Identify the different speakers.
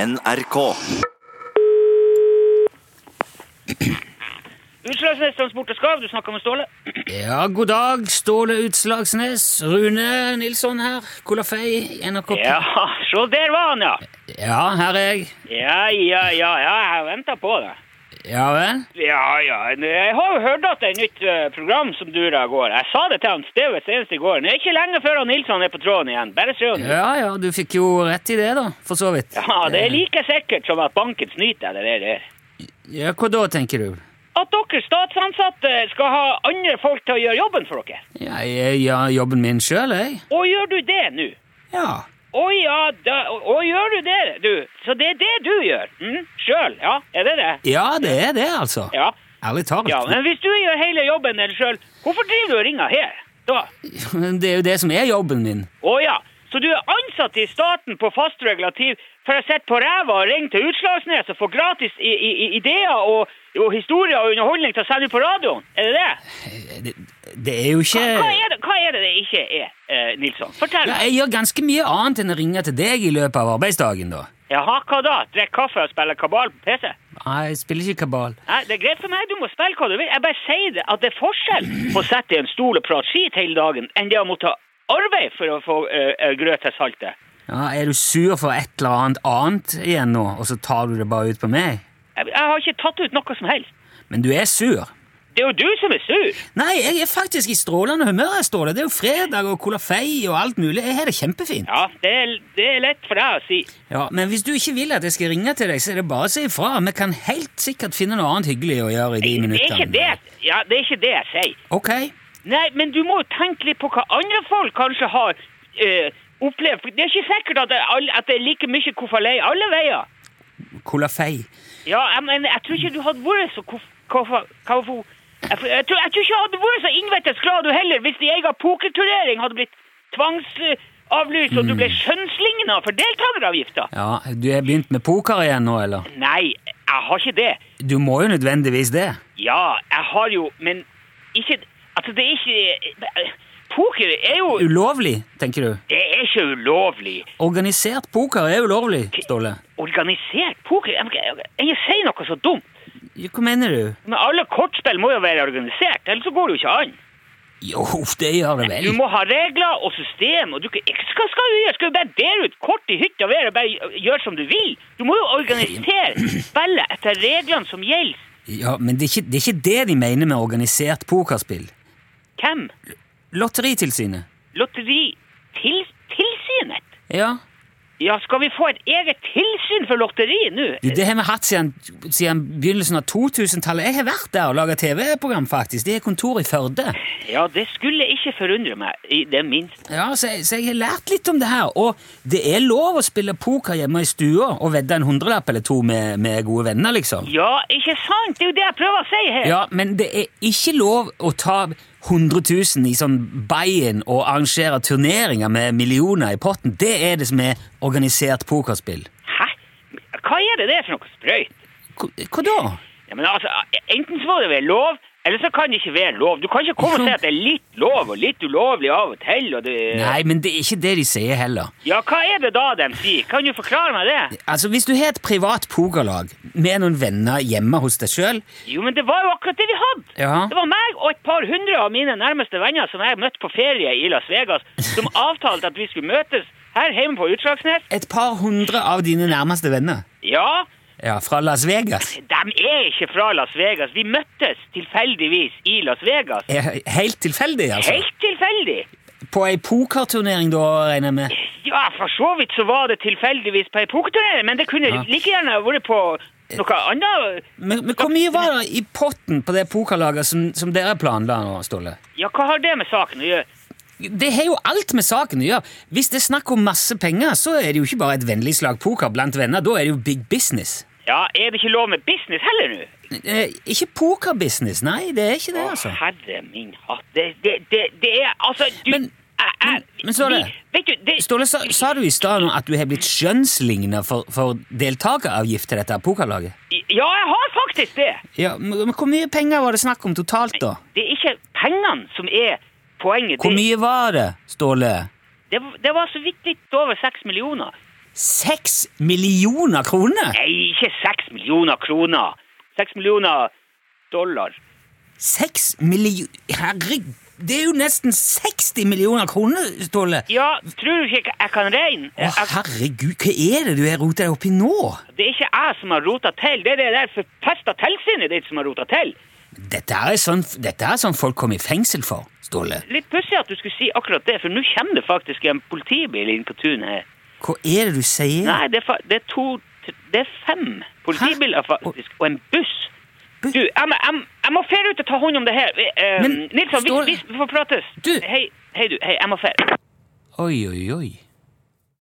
Speaker 1: NRK.
Speaker 2: Utslagsnes Transport og Skarv, du snakker med Ståle.
Speaker 3: Ja, god dag, Ståle Utslagsnes. Rune Nilsson her. Kolafei, NRK.
Speaker 2: Ja, så der var han, ja.
Speaker 3: Ja, her er jeg.
Speaker 2: Ja, ja, ja, ja jeg venta på det.
Speaker 3: Ja vel?
Speaker 2: Ja, ja, jeg har jo hørt at det er et nytt eh, program som durer av gårde. Jeg sa det til han Steve senest i går. Det er ikke lenge før han Nilsson er på tråden igjen. Bare se om
Speaker 3: Ja ja, du fikk jo rett i det, da. For så vidt.
Speaker 2: Ja, det er like sikkert som at banken snyter deg, det der.
Speaker 3: Eh, Ja, Hva da, tenker du?
Speaker 2: At dere statsansatte skal ha andre folk til å gjøre jobben for dere.
Speaker 3: Ja, jeg gjør jobben min sjøl, jeg.
Speaker 2: Og gjør du det nå?
Speaker 3: Ja.
Speaker 2: Å ja, da, og gjør du det, du? Så det er det du gjør? Mm, Sjøl, ja? Er det det?
Speaker 3: Ja, det er det, altså.
Speaker 2: Ja.
Speaker 3: Ærlig talt.
Speaker 2: Ja, men hvis du gjør hele jobben din sjøl, hvorfor driver du og ringer her? Da?
Speaker 3: Men Det er jo det som er jobben min.
Speaker 2: Å ja, så du er ansatt i staten på fast regulativ for å sitte på ræva og ringe til Utslagsnes og få gratis i, i, i ideer og, og historier og underholdning til å sende ut på radioen? Er det det?
Speaker 3: Det, det er jo ikke
Speaker 2: Hva, hva, er, det, hva er det det ikke er, eh, Nilsson? Fortell.
Speaker 3: ja, Jeg gjør ganske mye annet enn å ringe til deg i løpet av arbeidsdagen, da.
Speaker 2: Jaha, hva da? Drikke kaffe og spille kabal på PC?
Speaker 3: Nei, jeg spiller ikke kabal.
Speaker 2: Nei, det er greit for meg, du må spille hva du vil. Jeg bare sier det, at det er forskjell på å sitte i en stol og prate skit hele dagen, enn det å måtte arbeide for å få uh, grøt til saltet.
Speaker 3: Ja, Er du sur for et eller annet annet igjen nå, og så tar du det bare ut på meg?
Speaker 2: Jeg, jeg har ikke tatt ut noe som helst.
Speaker 3: Men du er sur.
Speaker 2: Det er jo du som er sur.
Speaker 3: Nei, jeg er faktisk i strålende humør. jeg står Det Det er jo fredag og colafei og alt mulig. Jeg har det kjempefint.
Speaker 2: Ja, det er, det er lett for deg å si.
Speaker 3: Ja, Men hvis du ikke vil at jeg skal ringe til deg, så er det bare å si ifra. Vi kan helt sikkert finne noe annet hyggelig å gjøre
Speaker 2: Det
Speaker 3: i de
Speaker 2: er ikke
Speaker 3: minuttene.
Speaker 2: det, ja, det, er ikke det jeg sier.
Speaker 3: Ok.
Speaker 2: Nei, men du må jo tenke litt på hva andre folk kanskje har eh, opplevd. For Det er ikke sikkert at det, er all- at det er like mye kofalei alle veier.
Speaker 3: Colafei.
Speaker 2: Ja, jeg, men jeg tror ikke du hadde vært så kof, kofa, kofo, jeg, jeg, tror, jeg tror ikke jeg hadde vært så innvettes glad du heller hvis din egen pokerturnering hadde blitt tvangsavlyst og du ble skjønnsligna for deltakeravgifta.
Speaker 3: Ja, Du har begynt med poker igjen nå, eller?
Speaker 2: Nei, jeg har ikke det.
Speaker 3: Du må jo nødvendigvis det.
Speaker 2: Ja, jeg har jo Men ikke Altså, det er ikke Poker er jo
Speaker 3: Ulovlig, tenker du.
Speaker 2: Det er ikke ulovlig.
Speaker 3: Organisert poker er ulovlig, Ståle.
Speaker 2: Organisert poker Jeg, jeg, jeg sier noe så dumt.
Speaker 3: Ja, Hva mener du?
Speaker 2: Men alle kortspill må jo være organisert, ellers så går det jo ikke an.
Speaker 3: Jo, det gjør det
Speaker 2: Du
Speaker 3: vel.
Speaker 2: må ha regler og system, og du kan ikke Hva skal du gjøre? Skal du bare dele ut kort i hytta og vær og bare gjøre som du vil? Du må jo organisere spillet etter reglene som gjelder.
Speaker 3: Ja, Men det er, ikke, det er ikke det de mener med organisert pokerspill.
Speaker 2: Hvem?
Speaker 3: Lotteritilsynet.
Speaker 2: Lotteri? Til, tilsynet?
Speaker 3: Ja,
Speaker 2: Ja, skal vi få et eget tilsyn for lotteri nå?
Speaker 3: Du, det har vi hatt siden, siden begynnelsen av 2000-tallet. Jeg har vært der og laga TV-program, faktisk. De har kontor i Førde.
Speaker 2: Ja, det skulle ikke forundre meg i det minste.
Speaker 3: Ja, så jeg, så jeg har lært litt om det her. Og det er lov å spille poker hjemme i stua og vedde en hundrelapp eller to med, med gode venner, liksom.
Speaker 2: Ja, ikke sant? Det er jo det jeg prøver å si her.
Speaker 3: Ja, men det er ikke lov å ta 100 000 i sånn buy-in og arrangere turneringer med millioner i potten. Det er det som er organisert pokerspill.
Speaker 2: Hæ? Hva er det det er for noe sprøyt?
Speaker 3: Hva, hva da?
Speaker 2: Ja, men altså, enten så må det være lov, eller så kan det ikke være lov. Du kan ikke komme og si at det er litt lov og litt ulovlig av og til, og det...
Speaker 3: Nei, men det er ikke det de sier heller.
Speaker 2: Ja, hva er det da de sier? Kan du forklare meg det?
Speaker 3: Altså, Hvis du har et privat pokerlag med noen venner hjemme hos deg sjøl
Speaker 2: Jo, men det var jo akkurat det vi hadde.
Speaker 3: Ja.
Speaker 2: Det var meg og et par hundre av mine nærmeste venner som jeg møtte på ferie i Las Vegas, som avtalte at vi skulle møtes her hjemme på Utslagsnes.
Speaker 3: Et par hundre av dine nærmeste venner
Speaker 2: Ja,
Speaker 3: Ja, fra Las Vegas.
Speaker 2: De er ikke fra Las Vegas. Vi møttes tilfeldigvis i Las Vegas.
Speaker 3: Eh, Helt tilfeldig, altså.
Speaker 2: Helt tilfeldig!
Speaker 3: På ei pokerturnering, da, regner jeg med.
Speaker 2: Ja, for så vidt så var det tilfeldigvis på ei pokerturnering, men det kunne like gjerne vært på noe annet.
Speaker 3: Men, men hvor mye var det i potten på det pokerlaget som, som dere planla nå, Ståle?
Speaker 2: Ja, hva har det med saken å gjøre?
Speaker 3: Det har jo alt med saken å gjøre. Hvis det er snakk om masse penger, så er det jo ikke bare et vennlig slag poker blant venner. Da er det jo big business.
Speaker 2: Ja, er det ikke lov med business heller nå?
Speaker 3: Eh, ikke pokerbusiness, nei. Det er ikke det, altså.
Speaker 2: Å, herre min hatt. Det, det, det, det er altså du,
Speaker 3: Men-
Speaker 2: jeg- jeg-
Speaker 3: men- men så er det-
Speaker 2: vi- Vet du, det
Speaker 3: Ståle, sa, sa du i stad nå at du har blitt skjønnsligna for, for deltakeravgift til dette pokerlaget?
Speaker 2: Ja, jeg har faktisk det!
Speaker 3: Ja, men men Hvor mye penger var det snakk om totalt, da?
Speaker 2: Det er ikke pengene som er poenget.
Speaker 3: Hvor
Speaker 2: Det-
Speaker 3: mye var det, Ståle?
Speaker 2: Det, det var så vidt litt over seks millioner.
Speaker 3: Seks millioner kroner?!
Speaker 2: Nei, ikke seks millioner kroner. Seks millioner dollar.
Speaker 3: Seks millioner Herregud, det er jo nesten 60 millioner kroner, Ståle!
Speaker 2: Ja, tror du ikke jeg kan regne?
Speaker 3: Å,
Speaker 2: Jeg-
Speaker 3: herregud, hva er det du har rota deg oppi nå?
Speaker 2: Det er ikke jeg som har rota til, det er det der forpesta tilsynet ditt som har rota til.
Speaker 3: Dette er sånn, dette er sånn folk kommer i fengsel for, Ståle.
Speaker 2: Litt pussig at du skulle si akkurat det, for nå kommer det faktisk en politibil inn på tunet her.
Speaker 3: Hva er det du sier?
Speaker 2: Nei, det er, fa det er to tr- Det er fem politibiler, faktisk, og en buss.
Speaker 3: Bu-
Speaker 2: Du, jeg, må- jeg, må- jeg må fære ut og ta hånd om det her. Vi, eh,
Speaker 3: Men,
Speaker 2: Nilsson, vi,
Speaker 3: Ståle-
Speaker 2: vi får prates.
Speaker 3: Du-
Speaker 2: Hei, hei, du. Hei, jeg må fære.
Speaker 3: Oi, oi, oi.